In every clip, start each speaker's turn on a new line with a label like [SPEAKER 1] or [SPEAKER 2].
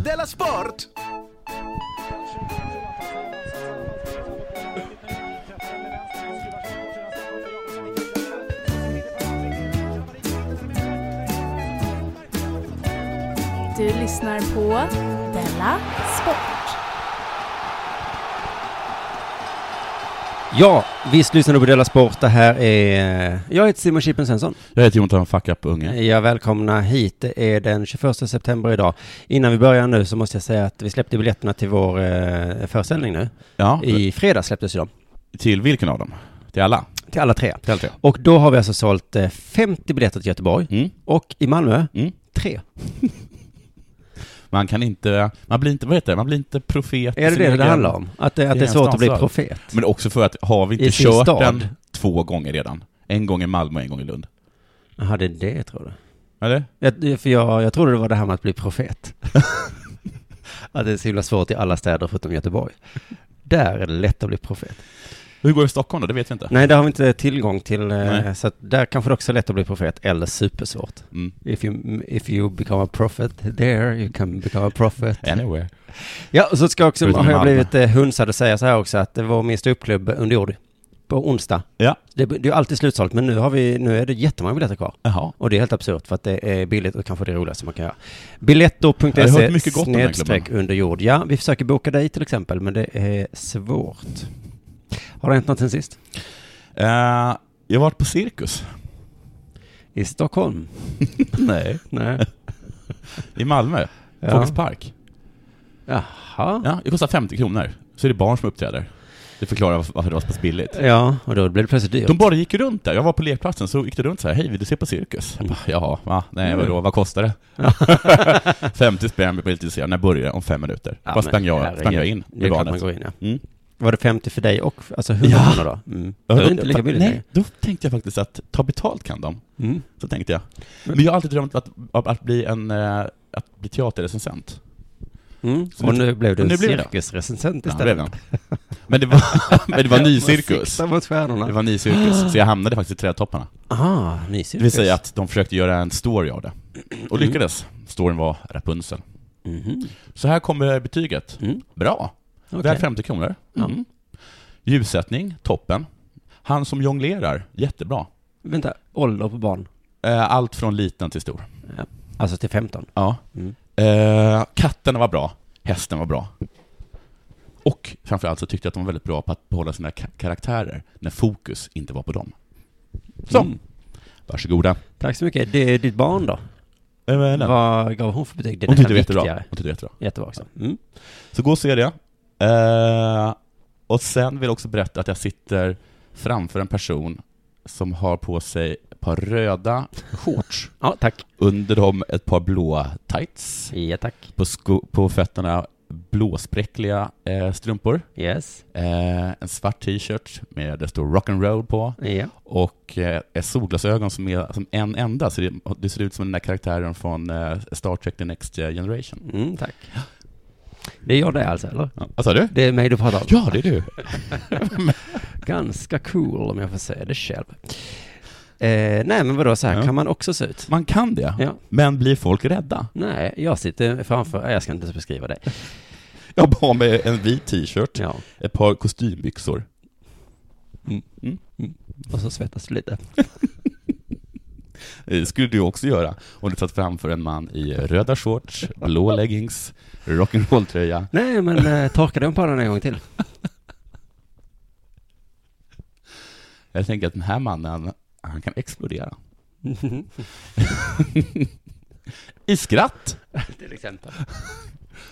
[SPEAKER 1] Della Sport!
[SPEAKER 2] Du lyssnar på Della Sport.
[SPEAKER 3] Ja, visst lyssnar du på Della Sport. Det här är... Jag heter Simon Chippen Svensson.
[SPEAKER 4] Jag heter Jonathan Fuck Up Unge.
[SPEAKER 3] Jag välkomnar hit. Det är den 21 september idag. Innan vi börjar nu så måste jag säga att vi släppte biljetterna till vår eh, föreställning nu.
[SPEAKER 4] Ja,
[SPEAKER 3] I fredags släpptes ju de.
[SPEAKER 4] till vilken av dem? Till alla?
[SPEAKER 3] Till alla tre.
[SPEAKER 4] Till alla tre.
[SPEAKER 3] Och då har vi alltså sålt eh, 50 biljetter till Göteborg.
[SPEAKER 4] Mm.
[SPEAKER 3] Och i Malmö,
[SPEAKER 4] Mm.
[SPEAKER 3] tre.
[SPEAKER 4] Man kan inte, man blir inte, vad heter det, man blir inte profet i
[SPEAKER 3] Är det
[SPEAKER 4] sin
[SPEAKER 3] det det
[SPEAKER 4] egen-
[SPEAKER 3] handlar om? Att, det- att det är
[SPEAKER 4] egen
[SPEAKER 3] svårt att bli
[SPEAKER 4] stadsdel.
[SPEAKER 3] profet?
[SPEAKER 4] Men också för att, har vi
[SPEAKER 3] I
[SPEAKER 4] inte
[SPEAKER 3] sin
[SPEAKER 4] kört
[SPEAKER 3] stad.
[SPEAKER 4] den två gånger redan? En gång i Malmö och en gång i Lund.
[SPEAKER 3] Jaha, det är det tror du?
[SPEAKER 4] Eller?
[SPEAKER 3] Jag, för jag, jag trodde det var det här med att bli profet. att det är så himla svårt i alla städer förutom Göteborg. Där är det lätt att bli profet.
[SPEAKER 4] Hur går det i Stockholm då? Det vet vi inte.
[SPEAKER 3] Nej, där har vi inte tillgång till, eh,
[SPEAKER 4] Nej.
[SPEAKER 3] så att där kanske det också är lätt att bli profet, eller supersvårt.
[SPEAKER 4] Mm.
[SPEAKER 3] If you, if you become a prophet there, you can become a prophet.
[SPEAKER 4] Anywhere.
[SPEAKER 3] Ja, och så ska jag också,
[SPEAKER 4] Förutom
[SPEAKER 3] har jag
[SPEAKER 4] Malmö.
[SPEAKER 3] blivit eh, hunsad att säga så här också, att det var min ståuppklubb under jord på onsdag.
[SPEAKER 4] Ja.
[SPEAKER 3] Det, det är ju alltid slutsålt, men nu, har vi, nu är det jättemånga biljetter kvar.
[SPEAKER 4] Jaha.
[SPEAKER 3] Och det är helt absurt för att det är billigt och kanske det roligaste man kan göra.
[SPEAKER 4] Jag har hört
[SPEAKER 3] Biletto.se
[SPEAKER 4] mycket gott om den här klubben.
[SPEAKER 3] E snedstreck under jord. Ja, vi försöker boka dig till exempel, men det är svårt. Har det hänt något sen sist?
[SPEAKER 4] Eh, jag har varit på cirkus.
[SPEAKER 3] I Stockholm?
[SPEAKER 4] Nej.
[SPEAKER 3] Nej.
[SPEAKER 4] I Malmö.
[SPEAKER 3] Ja.
[SPEAKER 4] Folkets park.
[SPEAKER 3] Jaha.
[SPEAKER 4] Ja, det kostar 50 kronor. Så är det barn som uppträder. Det förklarar varför varför det var så pass billigt.
[SPEAKER 3] Ja, och då blir det plötsligt dyrt.
[SPEAKER 4] De bara gick runt där. Jag var på lekplatsen, så gick det runt så här. Hej, vill du se på cirkus?
[SPEAKER 3] Mm.
[SPEAKER 4] Jag bara, Jaha, va? Nej, vadå? Vad kostar det? 50 spänn på lite sen. När börjar det? Om fem minuter.
[SPEAKER 3] Ja,
[SPEAKER 4] bara
[SPEAKER 3] men
[SPEAKER 4] sprang jag,
[SPEAKER 3] herregud.
[SPEAKER 4] sprang jag in
[SPEAKER 3] Det är
[SPEAKER 4] i
[SPEAKER 3] klart man
[SPEAKER 4] barnet.
[SPEAKER 3] går in, ja.
[SPEAKER 4] Mm.
[SPEAKER 3] Var det 50 för dig och alltså 100
[SPEAKER 4] Ja.
[SPEAKER 3] kronor då? Mm. Då är det inte lika billigt
[SPEAKER 4] Nej,
[SPEAKER 3] längre.
[SPEAKER 4] då tänkte jag faktiskt att ta betalt kan de.
[SPEAKER 3] Mm.
[SPEAKER 4] Så tänkte jag. Men jag har alltid drömt att, att, att bli en, eh, att bli teaterrecensent.
[SPEAKER 3] Mm.
[SPEAKER 4] Så
[SPEAKER 3] Och
[SPEAKER 4] nu-
[SPEAKER 3] nu blev du
[SPEAKER 4] nu
[SPEAKER 3] en
[SPEAKER 4] blir det då.
[SPEAKER 3] cirkusrecensent
[SPEAKER 4] Ja, det
[SPEAKER 3] istället.
[SPEAKER 4] blev jag. Men det var, men det var ny cirkus.
[SPEAKER 3] Sikta mot
[SPEAKER 4] Det
[SPEAKER 3] stjärnorna.
[SPEAKER 4] var ny cirkus, så jag hamnade faktiskt i trädtopparna.
[SPEAKER 3] Ah, ny
[SPEAKER 4] Det
[SPEAKER 3] cirkus.
[SPEAKER 4] vill säga att de försökte göra en story av det. Och
[SPEAKER 3] Mm.
[SPEAKER 4] lyckades. Storyn var Rapunzel.
[SPEAKER 3] Mhm.
[SPEAKER 4] Så här kommer betyget.
[SPEAKER 3] Mm.
[SPEAKER 4] Bra. Väl
[SPEAKER 3] Okej.
[SPEAKER 4] 50 kronor.
[SPEAKER 3] Ja.
[SPEAKER 4] Mm. Ljussättning, toppen. Han som jonglerar, jättebra.
[SPEAKER 3] Vänta, ålder på barn?
[SPEAKER 4] Eh, Allt från liten till stor.
[SPEAKER 3] Alltså till 15?
[SPEAKER 4] Ja.
[SPEAKER 3] Mm.
[SPEAKER 4] Eh, Katterna var bra. Hästen var bra. Och framförallt så tyckte jag att de var väldigt bra på att behålla sina ka- karaktärer när fokus inte var på dem. Så,
[SPEAKER 3] Mm.
[SPEAKER 4] varsågoda.
[SPEAKER 3] Tack så mycket. Det är ditt barn då?
[SPEAKER 4] Eh,
[SPEAKER 3] Vad gav hon för betyg? Det
[SPEAKER 4] Hon
[SPEAKER 3] är
[SPEAKER 4] tyckte det
[SPEAKER 3] nästan
[SPEAKER 4] var jättebra.
[SPEAKER 3] viktigare.
[SPEAKER 4] Hon tyckte det var jättebra.
[SPEAKER 3] Jättebra också. Mm.
[SPEAKER 4] Så gå och se det. Eh, och sen vill jag också berätta att jag sitter framför en person som har på sig ett par röda shorts.
[SPEAKER 3] Ja, tack.
[SPEAKER 4] Under dem ett par blåa tights.
[SPEAKER 3] Ja, tack.
[SPEAKER 4] På, sko- på fötterna blåspräckliga eh, strumpor.
[SPEAKER 3] Yes.
[SPEAKER 4] Eh, en svart t-shirt med det står rock'n'roll på.
[SPEAKER 3] Ja.
[SPEAKER 4] Och eh, ett solglasögon som är som en enda. Så det, det ser ut som den där karaktären från eh, Star Trek The Next Generation.
[SPEAKER 3] Mm, tack. Det är jag det alltså, eller?
[SPEAKER 4] Ja, Vad sa du?
[SPEAKER 3] Det är mig du pratar om?
[SPEAKER 4] Ja, det är du.
[SPEAKER 3] Ganska cool om jag får säga det själv. Eh, nej, men vadå, så här
[SPEAKER 4] Ja.
[SPEAKER 3] kan man också se ut?
[SPEAKER 4] Man kan det.
[SPEAKER 3] Ja.
[SPEAKER 4] Men blir folk rädda?
[SPEAKER 3] Nej, jag sitter framför, nej, jag ska inte ens beskriva det.
[SPEAKER 4] Jag har mig en vit t-shirt,
[SPEAKER 3] Ja,
[SPEAKER 4] ett par kostymbyxor.
[SPEAKER 3] och så svettas du lite.
[SPEAKER 4] Det Eh, skulle du också göra om du satt framför en man i röda shorts, blå leggings, rock'n'roll-tröja.
[SPEAKER 3] Nej, men eh, torka den pannan en gång till.
[SPEAKER 4] Jag tänker att den här mannen, han kan explodera. I skratt!
[SPEAKER 3] till exempel.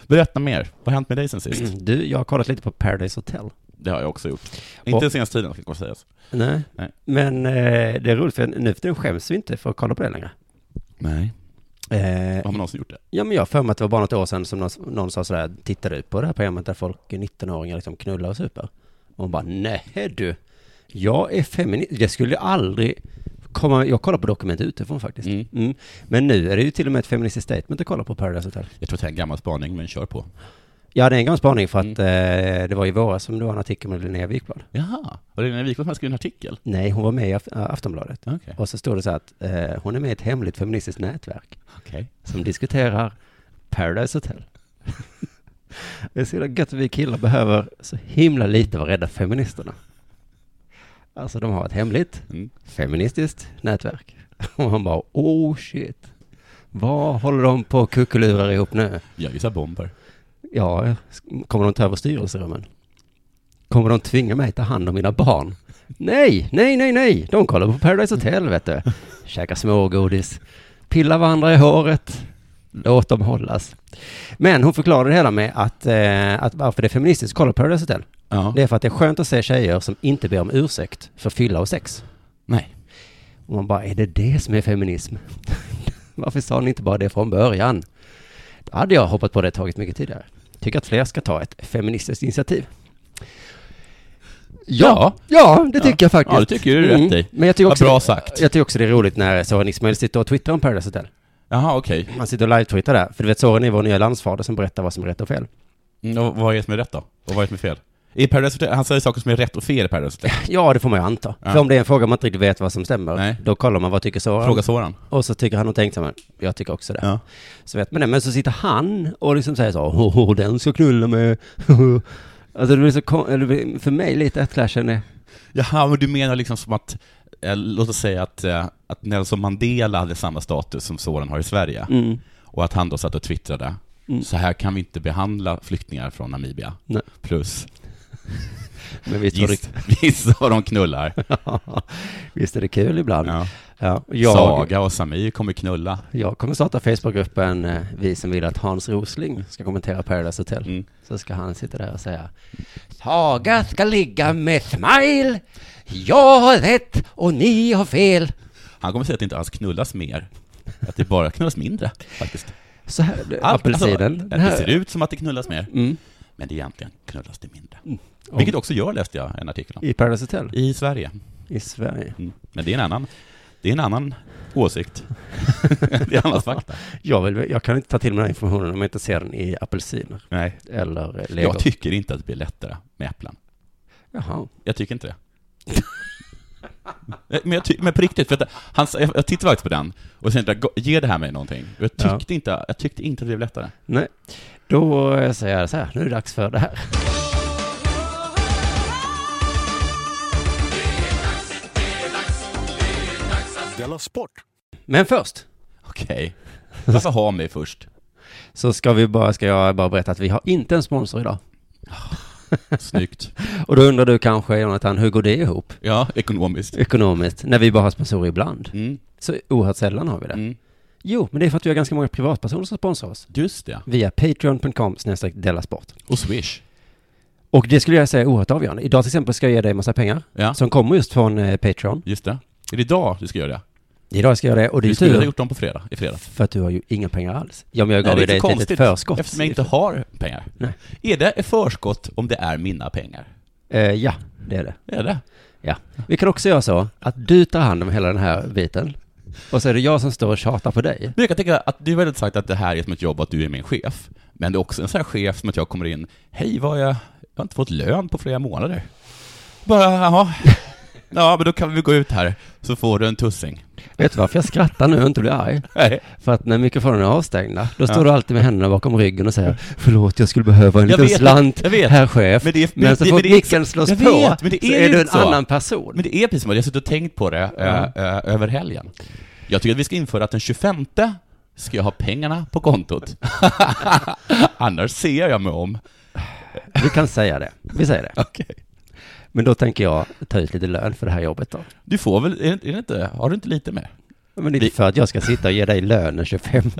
[SPEAKER 4] Berätta mer. Vad har hänt med dig sen sist?
[SPEAKER 3] Du, jag har kollat lite på Paradise Hotel.
[SPEAKER 4] Det har jag också gjort. Inte senaste tiden, ska sägas.
[SPEAKER 3] Nej.
[SPEAKER 4] Nej.
[SPEAKER 3] Men eh, det är roligt för nu för tiden skäms vi inte för att kolla på det längre.
[SPEAKER 4] Nej.
[SPEAKER 3] Eh,
[SPEAKER 4] Har man någonsin gjort det?
[SPEAKER 3] ja men jag har för mig att det var bara något år sedan som någon, någon sa sådär, tittar du på det här programmet där folk, 19-åringar liksom knullar och super? Och man bara, nej du, jag är feminist, det skulle jag aldrig komma, jag kollar på dokument utifrån faktiskt.
[SPEAKER 4] Mm.
[SPEAKER 3] Mm. Men nu är det ju till och med ett feministiskt statement att kolla på Paradise Hotel.
[SPEAKER 4] Jag tror att det är en gammal spaning, men kör på.
[SPEAKER 3] Ja det är en gammal spaning för att eh, det var i våras som det var en artikel med Linnea Wikblad.
[SPEAKER 4] Jaha, var det Lena Wiklund som hade skrivit en artikel?
[SPEAKER 3] Nej, hon var med i Af- Aftonbladet.
[SPEAKER 4] Okej.
[SPEAKER 3] Och så står det så här att eh, hon är med i ett hemligt feministiskt nätverk
[SPEAKER 4] Okej.
[SPEAKER 3] som diskuterar Paradise Hotel. Det är så jävla gött att vi killar behöver så himla lite vara rädda för feministerna. Alltså de har ett hemligt
[SPEAKER 4] Mm.
[SPEAKER 3] feministiskt nätverk. Och man bara oh shit. Vad håller de på och kuckelurar ihop nu?
[SPEAKER 4] Jag gissar bomber.
[SPEAKER 3] Ja, kommer de ta över styrelserummen? Kommer de tvinga mig ta hand om mina barn? Nej, nej, nej, nej! De kollar på Paradise Hotel, vet du. Käkar smågodis. Pillar varandra i håret. Låt dem hållas. Men hon förklarade det hela med att, eh, att varför det är feministiskt att kolla på Paradise Hotel.
[SPEAKER 4] Ja.
[SPEAKER 3] Det är för att det är skönt att se tjejer som inte ber om ursäkt för fylla och sex.
[SPEAKER 4] Nej.
[SPEAKER 3] Och man bara, är det det som är feminism? Varför sa ni inte bara det från början? Då hade jag hoppat på det tagit mycket tidigare. Tycker att fler ska ta ett feministiskt initiativ.
[SPEAKER 4] Ja.
[SPEAKER 3] Ja, det tycker jag faktiskt. Mm.
[SPEAKER 4] Ja, det tycker du är rätt i.
[SPEAKER 3] Men jag tycker,
[SPEAKER 4] Vad
[SPEAKER 3] också,
[SPEAKER 4] bra sagt.
[SPEAKER 3] jag tycker också det är roligt när Soran Ismail sitter och twittrar om Paradise Hotel.
[SPEAKER 4] Jaha, okej.
[SPEAKER 3] Han sitter och live-twittrar där. För du vet, Soran är vår nya landsfader som berättar vad som är rätt och fel.
[SPEAKER 4] Mm, och vad är det som är rätt då? Och vad är det som är fel? I Paradise Hotel, han säger saker som är rätt och fel i Paradise Hotel.
[SPEAKER 3] Ja, det får man ju anta.
[SPEAKER 4] Ja.
[SPEAKER 3] För om det är en fråga man inte riktigt vet vad som stämmer,
[SPEAKER 4] Nej.
[SPEAKER 3] då kollar man vad tycker Soran.
[SPEAKER 4] Fråga Soran.
[SPEAKER 3] Och så tycker han och tänkt så här, jag tycker också det.
[SPEAKER 4] Ja.
[SPEAKER 3] Så vet man det. Men så sitter han och liksom säger så, "Åh, åh, den ska knulla med. alltså det blir så kon- eller det blir för mig lite Mm. att clashen är,
[SPEAKER 4] Jaha, men du menar liksom som att, eh, låt oss säga att, eh, att Nelson Mandela hade samma status som Soran har i Sverige.
[SPEAKER 3] mm,
[SPEAKER 4] Och att han då satt och twittrade.
[SPEAKER 3] Mm.
[SPEAKER 4] Så här kan vi inte behandla flyktingar från Namibia.
[SPEAKER 3] Nej.
[SPEAKER 4] Plus,
[SPEAKER 3] men visst, var
[SPEAKER 4] giss, gissa vad de knullar.
[SPEAKER 3] det, visst är det kul ibland. Ja.
[SPEAKER 4] Ja.
[SPEAKER 3] jag,
[SPEAKER 4] Saga och Samir kommer knulla.
[SPEAKER 3] jag kommer starta Facebookgruppen eh, Vi som vill att Hans Rosling ska kommentera Paradise Hotel.
[SPEAKER 4] Mm.
[SPEAKER 3] Så ska han sitta där och säga Saga ska ligga med Smile. Jag har rätt och ni har fel.
[SPEAKER 4] Han kommer säga att det inte alls knullas mer. Att det bara knullas mindre, faktiskt.
[SPEAKER 3] Så här,
[SPEAKER 4] Allt-
[SPEAKER 3] apelsinen.
[SPEAKER 4] Alltså,
[SPEAKER 3] den
[SPEAKER 4] det ser
[SPEAKER 3] här,
[SPEAKER 4] ut som att det knullas mer,
[SPEAKER 3] mm,
[SPEAKER 4] men det egentligen knullas det mindre.
[SPEAKER 3] Om-
[SPEAKER 4] Vilket också gör, läste jag en artikel om.
[SPEAKER 3] I Paradise Hotel?
[SPEAKER 4] I Sverige.
[SPEAKER 3] I Sverige.
[SPEAKER 4] Mm. Men det är en annan, det är en annan åsikt. det är annars fakta.
[SPEAKER 3] Jag, vill, jag kan inte ta till mig den här informationen om jag inte ser den i apelsiner
[SPEAKER 4] Nej.
[SPEAKER 3] eller eh, lego.
[SPEAKER 4] Jag tycker inte att det blir lättare med äpplen.
[SPEAKER 3] Jaha.
[SPEAKER 4] Jag tycker inte det. Nej, men, jag ty- men på riktigt, för att han, sa- jag, jag tittade faktiskt på den och sen tänkte jag, ge det här mig någonting. Och Jag tyckte, inte, jag tyckte inte att det blev lättare.
[SPEAKER 3] Nej. Då eh, säger jag så här, nu är det dags för det här.
[SPEAKER 1] Della Sport!
[SPEAKER 3] Men först
[SPEAKER 4] Okej. Varför ha mig först?
[SPEAKER 3] så ska vi bara, ska jag bara berätta att vi har inte en sponsor idag.
[SPEAKER 4] Snyggt.
[SPEAKER 3] Och då undrar du kanske, Jonathan, hur går det ihop
[SPEAKER 4] Ja, ekonomiskt.
[SPEAKER 3] ekonomiskt när vi bara har sponsorer ibland?
[SPEAKER 4] Mm,
[SPEAKER 3] Så oerhört sällan har vi det.
[SPEAKER 4] mm.
[SPEAKER 3] Jo, men det är för att vi har ganska många privatpersoner som sponsrar oss
[SPEAKER 4] Just det.
[SPEAKER 3] via patreon.com snedstreck Della Sport.
[SPEAKER 4] Och Swish.
[SPEAKER 3] Och det skulle jag säga är oerhört avgörande. Idag till exempel ska jag ge dig en massa pengar
[SPEAKER 4] Ja,
[SPEAKER 3] som kommer just från eh, Patreon.
[SPEAKER 4] just det. Är det idag du ska göra det?
[SPEAKER 3] Idag ska jag göra det och det är
[SPEAKER 4] Du skulle
[SPEAKER 3] tur.
[SPEAKER 4] ha gjort dem på fredag, i fredag.
[SPEAKER 3] För att du har ju inga pengar alls. Ja, men jag gav
[SPEAKER 4] Nej,
[SPEAKER 3] ju
[SPEAKER 4] det
[SPEAKER 3] dig
[SPEAKER 4] är
[SPEAKER 3] ett
[SPEAKER 4] så
[SPEAKER 3] litet
[SPEAKER 4] konstigt,
[SPEAKER 3] förskott.
[SPEAKER 4] Eftersom jag inte har pengar.
[SPEAKER 3] Nej.
[SPEAKER 4] Är det ett förskott om det är mina pengar?
[SPEAKER 3] Eh, ja, det är det.
[SPEAKER 4] Är det?
[SPEAKER 3] Ja. Vi kan också göra så att du tar hand om hela den här biten. Och så är det jag som står och tjatar på dig.
[SPEAKER 4] Men jag kan tänka att du har väldigt sagt att det här är som ett jobb och att du är min chef. Men det är också en sån här chef som att jag kommer in, hej vad har jag, jag har inte fått lön på flera månader. Bara, jaha. Ja, men då kan vi gå ut här, så får du en tussing.
[SPEAKER 3] Vet du varför jag skrattar nu och inte blir arg?
[SPEAKER 4] Nej,
[SPEAKER 3] För att när mikrofonerna är avstängda, då står
[SPEAKER 4] Ja.
[SPEAKER 3] du alltid med händerna bakom ryggen och säger Förlåt, jag skulle behöva en
[SPEAKER 4] Jag
[SPEAKER 3] liten
[SPEAKER 4] vet,
[SPEAKER 3] slant,
[SPEAKER 4] jag vet.
[SPEAKER 3] herr chef.
[SPEAKER 4] Men det är-
[SPEAKER 3] Men,
[SPEAKER 4] men
[SPEAKER 3] så
[SPEAKER 4] det-
[SPEAKER 3] fort
[SPEAKER 4] men det är
[SPEAKER 3] micken slås
[SPEAKER 4] Jag
[SPEAKER 3] på,
[SPEAKER 4] vet, men det
[SPEAKER 3] så
[SPEAKER 4] är
[SPEAKER 3] är du
[SPEAKER 4] inte
[SPEAKER 3] en
[SPEAKER 4] så.
[SPEAKER 3] annan person.
[SPEAKER 4] men det är precis som att jag har suttit och tänkt på det eh,
[SPEAKER 3] Ja.
[SPEAKER 4] eh, över helgen. Jag tycker att vi ska införa att den 25 ska jag ha pengarna på kontot. Annars ser jag mig om.
[SPEAKER 3] Vi kan säga det. Vi säger det.
[SPEAKER 4] Okej.
[SPEAKER 3] Men då tänker jag ta ut lite lön för det här jobbet då.
[SPEAKER 4] Du får väl, är det, är det inte, har du inte lite mer?
[SPEAKER 3] Men det är
[SPEAKER 4] Vi-
[SPEAKER 3] inte för att jag ska sitta och ge dig lön den 25.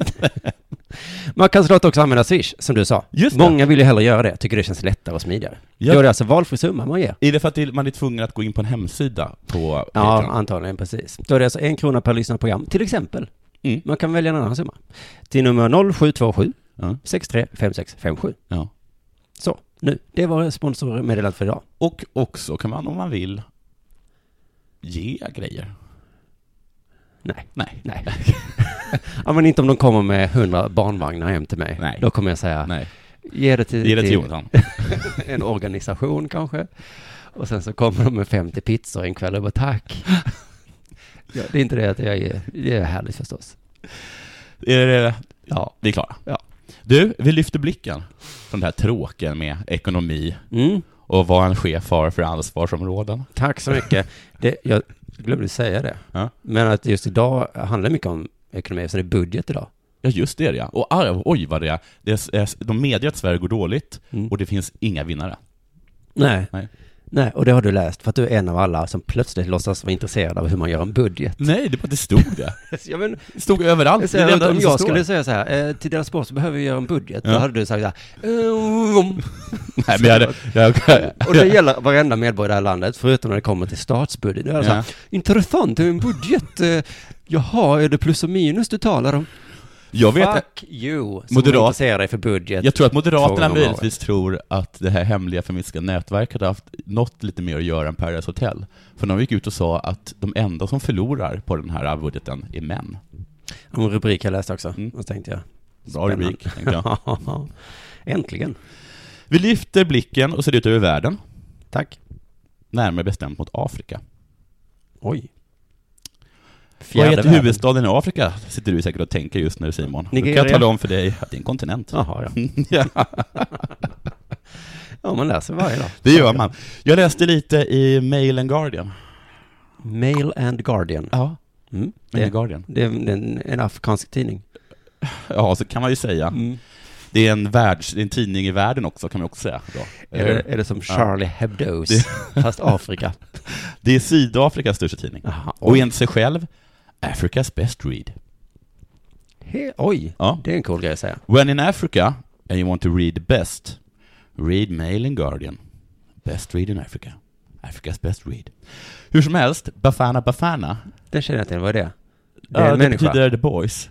[SPEAKER 3] Man kan såklart också använda Swish, som du sa.
[SPEAKER 4] Just det.
[SPEAKER 3] Många vill ju hellre göra det, tycker det känns lättare och smidigare.
[SPEAKER 4] Ja.
[SPEAKER 3] Då är det alltså valfri summa man ger.
[SPEAKER 4] Är det för att det- man är tvungen att gå in på en hemsida på
[SPEAKER 3] Ja,
[SPEAKER 4] Patreon?
[SPEAKER 3] antagligen precis. Då är det alltså en krona per lyssnat program, till exempel.
[SPEAKER 4] Mm.
[SPEAKER 3] Man kan välja en annan summa. Till nummer 0727
[SPEAKER 4] Ja.
[SPEAKER 3] 635657.
[SPEAKER 4] ja.
[SPEAKER 3] Så, nu. Det var sponsormeddelandet för idag.
[SPEAKER 4] Och också kan man om man vill ge grejer.
[SPEAKER 3] Nej.
[SPEAKER 4] Nej.
[SPEAKER 3] Nej. ja, men inte om de kommer med 100 barnvagnar hem till mig.
[SPEAKER 4] Nej.
[SPEAKER 3] Då kommer jag säga,
[SPEAKER 4] Nej.
[SPEAKER 3] ge det till,
[SPEAKER 4] Ge det till Jonathan.
[SPEAKER 3] en organisation kanske. Och sen så kommer de med 50 pizzor en kväll och bara tack. Ja, det är inte det att jag är, det är härligt förstås.
[SPEAKER 4] Är det,
[SPEAKER 3] Ja,
[SPEAKER 4] vi är klara.
[SPEAKER 3] Ja.
[SPEAKER 4] Du, vi lyfter blicken från det här tråkiga med ekonomi
[SPEAKER 3] Mm.
[SPEAKER 4] och vad en chef har för ansvarsområden.
[SPEAKER 3] Tack så mycket. Det, jag glömde säga det.
[SPEAKER 4] Ja.
[SPEAKER 3] Men att just idag handlar mycket om ekonomi, eftersom det är budget idag.
[SPEAKER 4] Ja, just det, ja. Och arv, oj vad det är. Det är s- de medger att Sverige går dåligt
[SPEAKER 3] Mm.
[SPEAKER 4] och det finns inga vinnare.
[SPEAKER 3] Nej.
[SPEAKER 4] Nej.
[SPEAKER 3] Nej, och det har du läst för att du är en av alla som plötsligt låtsas vara intresserad av hur man gör en budget.
[SPEAKER 4] Nej, det, bara- det stod det.
[SPEAKER 3] Ja, men, alltså,
[SPEAKER 4] Det stod överallt. Det är det enda
[SPEAKER 3] om
[SPEAKER 4] som
[SPEAKER 3] jag
[SPEAKER 4] står.
[SPEAKER 3] skulle säga så här, eh, till deras sport så behöver vi göra en budget, då
[SPEAKER 4] Ja.
[SPEAKER 3] hade du sagt så här, eh, om.
[SPEAKER 4] Nej, men jag, hade- jag,
[SPEAKER 3] och det gäller varenda medborgare i det här landet, förutom när det kommer till statsbudget. Då är det så här,
[SPEAKER 4] Ja.
[SPEAKER 3] intressant, hur en budget, eh, jaha, är det plus och minus du talar om?
[SPEAKER 4] jag vet
[SPEAKER 3] Fuck you, som
[SPEAKER 4] Moderat-
[SPEAKER 3] intresserar dig för budget.
[SPEAKER 4] Jag tror att
[SPEAKER 3] Två gånger
[SPEAKER 4] Moderaterna
[SPEAKER 3] om året.
[SPEAKER 4] möjligtvis tror att det här hemliga feministiska nätverket har haft något lite mer att göra än Paradise Hotel. För de gick ut och sa att de enda som förlorar på den här budgeten är män.
[SPEAKER 3] Om rubrik jag läste också,
[SPEAKER 4] Mm.
[SPEAKER 3] och så tänkte jag.
[SPEAKER 4] Bra
[SPEAKER 3] Spännande.
[SPEAKER 4] rubrik, tänkte jag.
[SPEAKER 3] Äntligen.
[SPEAKER 4] Vi lyfter blicken och ser ut över världen,
[SPEAKER 3] Tack.
[SPEAKER 4] närmare bestämt mot Afrika.
[SPEAKER 3] Oj.
[SPEAKER 4] Vad heter
[SPEAKER 3] världen.
[SPEAKER 4] huvudstaden i Afrika? Sitter du säkert och tänker just nu Simon. Då kan jag
[SPEAKER 3] Nigeria.
[SPEAKER 4] tala om för dig att det är en kontinent.
[SPEAKER 3] Jaha, ja.
[SPEAKER 4] Ja.
[SPEAKER 3] Ja, man läser varje dag.
[SPEAKER 4] Det gör man. Jag läste lite i Mail and Guardian.
[SPEAKER 3] Mail and Guardian.
[SPEAKER 4] Ja,
[SPEAKER 3] Mm.
[SPEAKER 4] Mail
[SPEAKER 3] Det,
[SPEAKER 4] and Guardian.
[SPEAKER 3] det är en, en afrikansk tidning.
[SPEAKER 4] Ja, så kan man ju säga.
[SPEAKER 3] Mm.
[SPEAKER 4] Det är en, världs, det är en tidning i världen också, kan man också säga. Då.
[SPEAKER 3] Är, det, är det som Charlie Hebdo's, fast Afrika?
[SPEAKER 4] Det är Sydafrikas största tidning.
[SPEAKER 3] Jaha,
[SPEAKER 4] Och
[SPEAKER 3] oj.
[SPEAKER 4] enligt sig själv, Africa's best read.
[SPEAKER 3] He, oj,
[SPEAKER 4] Ja.
[SPEAKER 3] det är en cool grej att säga.
[SPEAKER 4] When in Africa and you want to read best, read Mail and Guardian. Best read in Africa. Africa's best read. Hur som helst, Bafana Bafana,
[SPEAKER 3] Den känner jag till, vad är det? Det
[SPEAKER 4] det,
[SPEAKER 3] är en
[SPEAKER 4] det
[SPEAKER 3] människa.
[SPEAKER 4] betyder the boys.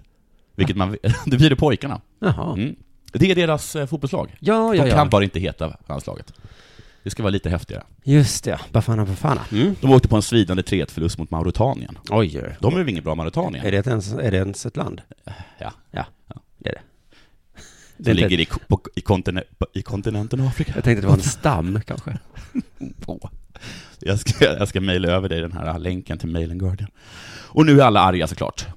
[SPEAKER 4] Vilket man vet- det betyder pojkarna.
[SPEAKER 3] Jaha.
[SPEAKER 4] Mm. Det är deras eh, fotbollslag.
[SPEAKER 3] Ja,
[SPEAKER 4] De
[SPEAKER 3] ja,
[SPEAKER 4] kan
[SPEAKER 3] ja.
[SPEAKER 4] bara inte heta landslaget. Det ska vara lite häftigare.
[SPEAKER 3] Just det, Bafana Bafana. Mm.
[SPEAKER 4] De åkte på en svidande 3-1-förlust mot Mauritanien.
[SPEAKER 3] Oj.
[SPEAKER 4] De är väl inget bra Mauritanien?
[SPEAKER 3] Är det, ens, är det ens ett land?
[SPEAKER 4] Ja.
[SPEAKER 3] Ja, det är det.
[SPEAKER 4] Det
[SPEAKER 3] är inte-
[SPEAKER 4] ligger i, ko- på, i, kontine, på, i kontinenten Afrika.
[SPEAKER 3] Jag tänkte det var en stam kanske.
[SPEAKER 4] Åh. Jag ska, jag ska mejla över dig den här länken till Mail and Guardian. Och nu är alla arga såklart,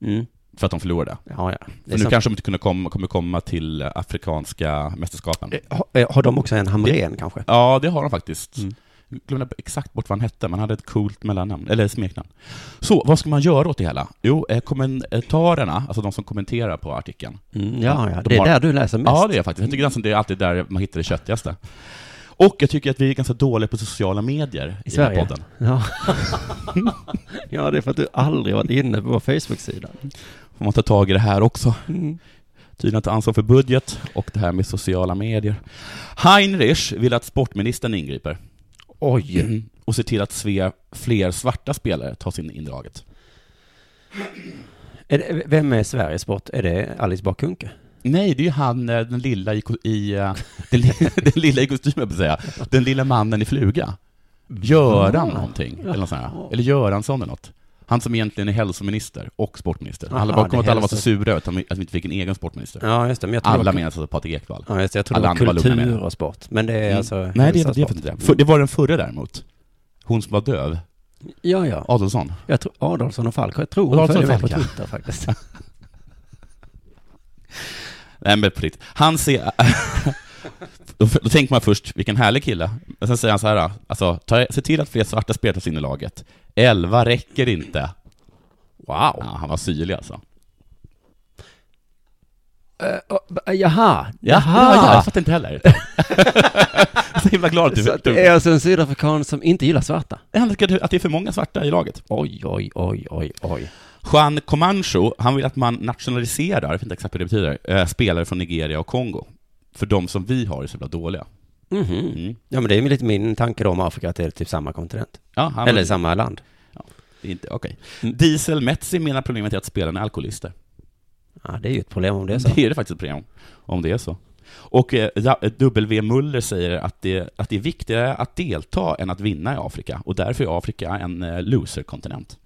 [SPEAKER 3] Mm.
[SPEAKER 4] för att de förlorade.
[SPEAKER 3] Ja, ja. Det
[SPEAKER 4] För
[SPEAKER 3] är
[SPEAKER 4] nu
[SPEAKER 3] sant.
[SPEAKER 4] kanske de inte kunde komma, kommer komma till Afrikanska mästerskapen.
[SPEAKER 3] Eh, har- eh, Har de också en hamrén kanske?
[SPEAKER 4] Ja, det har de faktiskt.
[SPEAKER 3] Mm.
[SPEAKER 4] Jag glömde exakt bort vad han hette, men han hade ett coolt mellannamn, eller smeknamn. Så, vad ska man göra åt det hela? Jo, eh, kommentarerna, alltså de som kommenterar på artikeln,
[SPEAKER 3] Mm, ja, ja.
[SPEAKER 4] De
[SPEAKER 3] Det är
[SPEAKER 4] har-
[SPEAKER 3] där du läser mest.
[SPEAKER 4] Ja, det är jag faktiskt. Jag tycker nästan det är alltid där man hittar det köttigaste. Och jag tycker att vi är ganska dåliga på sociala medier i, den
[SPEAKER 3] Sverige.
[SPEAKER 4] här podden.
[SPEAKER 3] Ja. ja, det är för att du aldrig varit inne på vår Facebook-sida.
[SPEAKER 4] Får man ta tag i det här också.
[SPEAKER 3] Mm.
[SPEAKER 4] Tydligen att ta ansvar för budget och det här med sociala medier. Heinrich vill att sportministern ingriper
[SPEAKER 3] Oj.
[SPEAKER 4] och ser till att sve- fler svarta spelare tas in i laget.
[SPEAKER 3] Är det, vem är Sveriges sport? Är det Alice Bakunke?
[SPEAKER 4] Nej, det är ju han, eh, den lilla i, ko- i eh, den, li- den lilla i kostym, jag på säga. Den lilla mannen i fluga. Göran
[SPEAKER 3] Ah.
[SPEAKER 4] någonting, eller något sånt här. Eller Göransson eller något. Han som egentligen är hälsominister och sportminister.
[SPEAKER 3] Aha,
[SPEAKER 4] Alla bakom
[SPEAKER 3] det
[SPEAKER 4] att alla var så
[SPEAKER 3] hälso-
[SPEAKER 4] sura över att de- att vi inte fick en egen sportminister.
[SPEAKER 3] Ja, just det. Men jag tror
[SPEAKER 4] alla
[SPEAKER 3] det var,
[SPEAKER 4] menar alltså Patrik Ekwall.
[SPEAKER 3] ja, just det. Jag tror det var
[SPEAKER 4] alla andra var lugna med
[SPEAKER 3] kultur
[SPEAKER 4] det.
[SPEAKER 3] och sport. Men det är
[SPEAKER 4] Mm.
[SPEAKER 3] alltså...
[SPEAKER 4] Nej, det,
[SPEAKER 3] hälsa och
[SPEAKER 4] det är
[SPEAKER 3] sport.
[SPEAKER 4] inte det. För, det var den förra däremot. Hon som var döv,
[SPEAKER 3] Ja, ja.
[SPEAKER 4] Adolfsson.
[SPEAKER 3] Jag tror Adolfsson och Falk. Jag tror hon
[SPEAKER 4] Adolfsson
[SPEAKER 3] följer mig
[SPEAKER 4] och
[SPEAKER 3] på
[SPEAKER 4] Falk, ja.
[SPEAKER 3] Twitter faktiskt.
[SPEAKER 4] Nej men på riktigt. Han ser... då, då tänker man först, vilken härlig kille. Men sen säger han så här, alltså, ta, se till att fler svarta spelare tas in i laget. Elva räcker inte. Wow. Ja, han var syrlig alltså.
[SPEAKER 3] Uh, jaha,
[SPEAKER 4] Ja, ja, ja, jag fattar inte heller. så himla glad att du...
[SPEAKER 3] Så att
[SPEAKER 4] Att
[SPEAKER 3] det är alltså en sydafrikan som inte gillar svarta?
[SPEAKER 4] Han tycker att det är för många svarta i laget.
[SPEAKER 3] Oj, oj, oj, oj, oj.
[SPEAKER 4] Juan Comancho, han vill att man nationaliserar, jag vet inte exakt vad det betyder, eh, spelare från Nigeria och Kongo. För de som vi har är så jävla dåliga. Mm.
[SPEAKER 3] Mhm. Ja, men det är ju lite min tanke då om Afrika, att det är typ samma kontinent.
[SPEAKER 4] Ja, han
[SPEAKER 3] Eller samma land.
[SPEAKER 4] Inte, okej. Diesel Metzi menar problemet är att spelarna är alkoholister.
[SPEAKER 3] Ja, det är ju ett problem om det är så.
[SPEAKER 4] Det är det faktiskt ett problem, om det är så. Och eh, Ja- W. Muller säger att det, att det är viktigare att delta än att vinna i Afrika, och därför är Afrika en eh, loser-kontinent.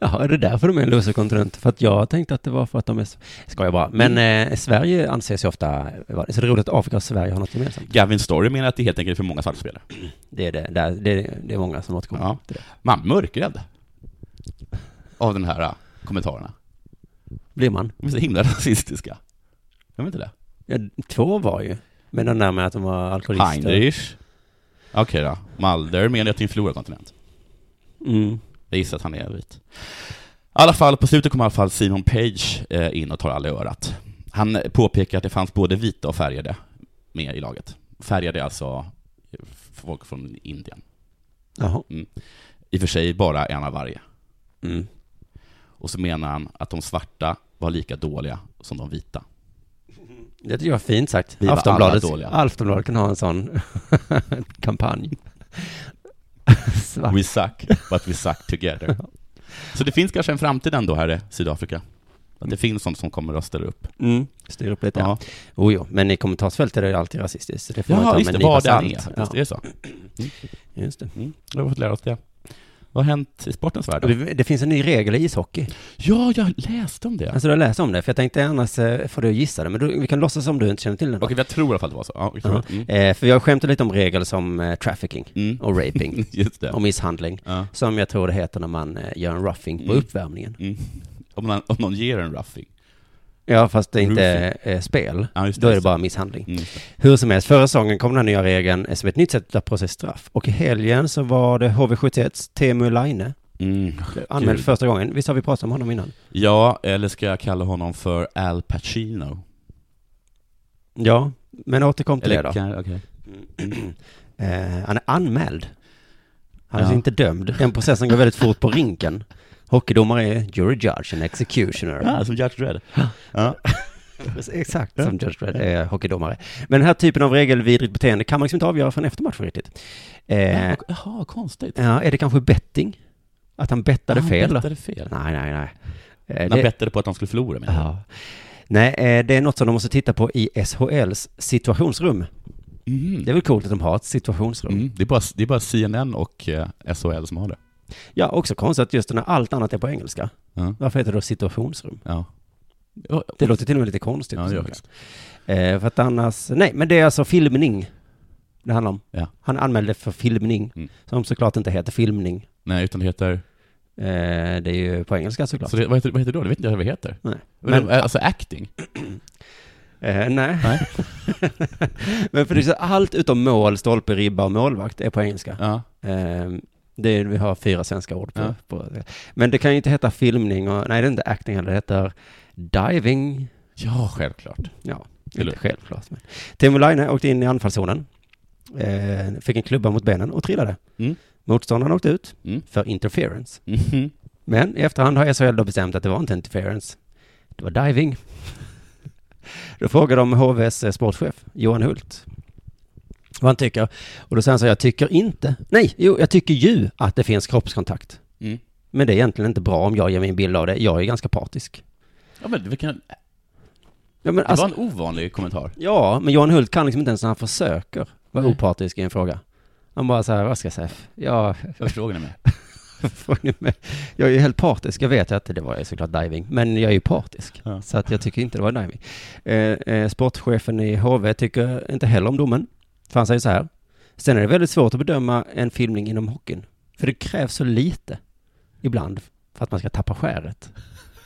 [SPEAKER 3] Ja, är det därför de är en loserkontinent? För att jag tänkte att det var för att de är... Ska jag bara. Men
[SPEAKER 4] Mm.
[SPEAKER 3] eh, Sverige anses ju ofta... vara- Så det är roligt att Afrika och Sverige har något gemensamt.
[SPEAKER 4] Gavin Story menar att det helt enkelt är för många svarta spelare.
[SPEAKER 3] Det är det. Där, det, är, det är många som återkommer
[SPEAKER 4] Ja.
[SPEAKER 3] till det.
[SPEAKER 4] Man mörkrädd av den här eh, kommentarerna.
[SPEAKER 3] blir man.
[SPEAKER 4] De är så himla rasistiska. De är inte det?
[SPEAKER 3] Ja, två var ju. Men den där med att de var alkoholister.
[SPEAKER 4] Heinrich. Okej då. Malder menar jag till en förlorad kontinent.
[SPEAKER 3] Mm.
[SPEAKER 4] Jag gissar att han är vit. I alla fall, på slutet kommer i alla fall Simon Page eh, in och tar alla i örat. Han påpekar att det fanns både vita och färgade med i laget. Färgade är alltså folk från Indien.
[SPEAKER 3] Jaha.
[SPEAKER 4] I och för sig bara en av varje.
[SPEAKER 3] Mm.
[SPEAKER 4] Och så menar han att de svarta var lika dåliga som de vita.
[SPEAKER 3] Det tycker jag är fint sagt.
[SPEAKER 4] Vi var
[SPEAKER 3] Aftonbladet,
[SPEAKER 4] alla dåliga.
[SPEAKER 3] Aftonbladet kan ha en sån kampanj. Svart.
[SPEAKER 4] We suck, but we suck together. Så det finns kanske en framtid ändå här i Sydafrika. Att det finns sånt som kommer att ställa upp.
[SPEAKER 3] Mm. Styr upp lite. Mm. Ja.
[SPEAKER 4] Ja,
[SPEAKER 3] Oh, jo, men i kommentarsfältet är det ju alltid rasistiskt. så Det får man
[SPEAKER 4] Jaha,
[SPEAKER 3] ta
[SPEAKER 4] just
[SPEAKER 3] med
[SPEAKER 4] det,
[SPEAKER 3] en nypa
[SPEAKER 4] vad det än är.
[SPEAKER 3] salt.
[SPEAKER 4] Just,
[SPEAKER 3] Ja,
[SPEAKER 4] det är så.
[SPEAKER 3] just det.
[SPEAKER 4] Mm, då har vi fått lära oss det. Vad har hänt i sportens värld? då?
[SPEAKER 3] Det- Det finns en ny regel i ishockey.
[SPEAKER 4] Ja, jag läste om det.
[SPEAKER 3] Alltså, jag läste om det, för jag tänkte annars eh, får du gissa det, men du, vi kan låtsas som du inte känner till den. då.
[SPEAKER 4] Okej, jag tror i alla fall det var så. Ja, jag tror
[SPEAKER 3] Ja.
[SPEAKER 4] det. Mm.
[SPEAKER 3] Eh, för jag skämtade lite om regler som eh, trafficking
[SPEAKER 4] Mm.
[SPEAKER 3] och raping
[SPEAKER 4] Just det.
[SPEAKER 3] och misshandling,
[SPEAKER 4] Ja.
[SPEAKER 3] som jag tror det heter när man eh, gör en roughing på
[SPEAKER 4] Mm.
[SPEAKER 3] uppvärmningen.
[SPEAKER 4] Mm. Om, någon, om någon ger en roughing.
[SPEAKER 3] Ja, fast det är inte eh, spel.
[SPEAKER 4] Ja, just det,
[SPEAKER 3] Då är det
[SPEAKER 4] just
[SPEAKER 3] bara misshandling.
[SPEAKER 4] Mm, just det.
[SPEAKER 3] Hur som helst, förra säsongen kom den här nya regeln eh, som ett nytt sätt att processa straff. Och i helgen så var det HV71, Teemu Laine,
[SPEAKER 4] Mm.
[SPEAKER 3] anmäld
[SPEAKER 4] Kul.
[SPEAKER 3] första gången. Visst har vi pratat om honom innan?
[SPEAKER 4] Ja, eller ska jag kalla honom för Al Pacino?
[SPEAKER 3] Ja, men återkom till
[SPEAKER 4] Eller
[SPEAKER 3] det då.
[SPEAKER 4] kan- okej.
[SPEAKER 3] Eh, han är anmäld. Han är
[SPEAKER 4] Ja.
[SPEAKER 3] alltså inte dömd. Den processen går väldigt fort på rinken. Hockeydomare är jury judge and executioner.
[SPEAKER 4] Ja, Ah, som Judge Dredd. Ja.
[SPEAKER 3] Precis, Exakt som Judge Dredd är hockeydomare. Men den här typen av regelvidrigt beteende kan man liksom inte avgöra förrän efter matchen riktigt. Eh,
[SPEAKER 4] Jaha, konstigt.
[SPEAKER 3] ja, är det kanske betting? Att han bettade
[SPEAKER 4] Ah, Han
[SPEAKER 3] fel?
[SPEAKER 4] bettade fel.
[SPEAKER 3] Nej, nej, nej. Eh,
[SPEAKER 4] Han
[SPEAKER 3] det,
[SPEAKER 4] bettade på att han skulle förlora, menar jag.
[SPEAKER 3] ja. Nej, eh, det är något som de måste titta på i SHLs situationsrum.
[SPEAKER 4] Mhm.
[SPEAKER 3] Det är väl coolt att de har ett situationsrum.
[SPEAKER 4] Mm. Det, är bara, det är bara CNN och eh, SHL som har det.
[SPEAKER 3] Ja, också konstigt att just när allt annat är på engelska.
[SPEAKER 4] Ja.
[SPEAKER 3] Varför heter det då situationsrum?
[SPEAKER 4] Ja.
[SPEAKER 3] Det låter till och med lite konstigt.
[SPEAKER 4] Ja, det gör det.
[SPEAKER 3] eh, för att annars, nej, men det är alltså filmning det handlar om.
[SPEAKER 4] Ja.
[SPEAKER 3] Han anmälde för filmning,
[SPEAKER 4] Mm.
[SPEAKER 3] som såklart inte heter filmning.
[SPEAKER 4] Nej, utan det heter...
[SPEAKER 3] Eh, det är ju på engelska såklart.
[SPEAKER 4] Så det, vad, heter, vad heter det då? Det vet inte jag vad det heter.
[SPEAKER 3] Nej.
[SPEAKER 4] Men,
[SPEAKER 3] Men,
[SPEAKER 4] alltså acting?
[SPEAKER 3] eh, nej.
[SPEAKER 4] Nej.
[SPEAKER 3] men för det är så, allt utom mål, stolpe, ribba och målvakt är på engelska.
[SPEAKER 4] Ja.
[SPEAKER 3] Eh, det är, vi har fyra svenska ord på,
[SPEAKER 4] Ja.
[SPEAKER 3] på Men det kan ju inte heta filmning och, nej det är inte acting heller, det heter diving.
[SPEAKER 4] Ja, självklart.
[SPEAKER 3] Ja,
[SPEAKER 4] Eller-
[SPEAKER 3] inte självklart. Men. Teemu Laine åkte in i anfallszonen, eh, fick en klubba mot benen och trillade.
[SPEAKER 4] Mm.
[SPEAKER 3] Motståndaren åkte ut
[SPEAKER 4] Mm.
[SPEAKER 3] för interference.
[SPEAKER 4] Mhm.
[SPEAKER 3] Men i efterhand har SHL då bestämt att det var inte interference, det var diving. Då frågade de HVs sportchef, Johan Hult, vad han tycker. Och då säger han så här, jag tycker inte, nej, jo, jag tycker ju att det finns kroppskontakt.
[SPEAKER 4] Mm.
[SPEAKER 3] Men det är egentligen inte bra om jag ger min bild av det, jag är ganska partisk.
[SPEAKER 4] Ja, men vilken, det
[SPEAKER 3] Ja, men alltså-
[SPEAKER 4] var en ovanlig kommentar.
[SPEAKER 3] Ja, men Johan Hult kan liksom inte ens när han försöker vara
[SPEAKER 4] Nej.
[SPEAKER 3] opartisk i en fråga. Han bara så här, vad ska jag säga? Ja,
[SPEAKER 4] Jag förstår ni med.
[SPEAKER 3] får ni med? jag är ju helt partisk. Jag vet att det var ju såklart diving, men jag är ju partisk.
[SPEAKER 4] Ja.
[SPEAKER 3] Så att jag tycker inte det var diving. Eh, eh, sportchefen i HV tycker inte heller om domen. För han säger så här, sen är det väldigt svårt att bedöma en filmning inom hockeyn. För det krävs så lite ibland för att man ska tappa skäret.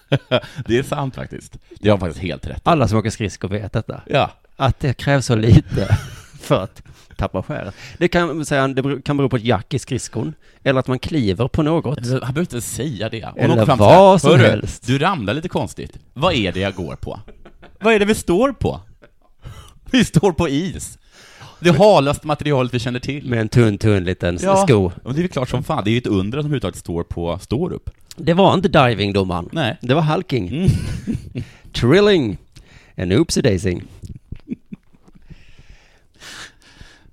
[SPEAKER 4] Det är sant faktiskt. Det har faktiskt helt rätt.
[SPEAKER 3] Alla som åker skridskor vet detta.
[SPEAKER 4] Ja.
[SPEAKER 3] att det krävs så lite för att tappa skäret. Det kan, säga, det beror- kan bero på ett jack i skridskon, eller att man kliver på något.
[SPEAKER 4] Alltså, Han behöver inte säga det. Om
[SPEAKER 3] Eller
[SPEAKER 4] någon fram
[SPEAKER 3] vad
[SPEAKER 4] så här,
[SPEAKER 3] som
[SPEAKER 4] "Hörru,
[SPEAKER 3] helst."
[SPEAKER 4] Du ramlar lite konstigt. Vad är det jag går på? Vad är det vi står på? Vi står på is. Det halaste materialet vi känner till.
[SPEAKER 3] Med en tunn, tunn liten s- sko.
[SPEAKER 4] men det är väl klart som fan. Det är ju ett under att de överhuvudtaget står på står upp.
[SPEAKER 3] Det var inte diving, domaren.
[SPEAKER 4] Nej.
[SPEAKER 3] Det var halking.
[SPEAKER 4] Mm.
[SPEAKER 3] Trilling. En oopsie daising.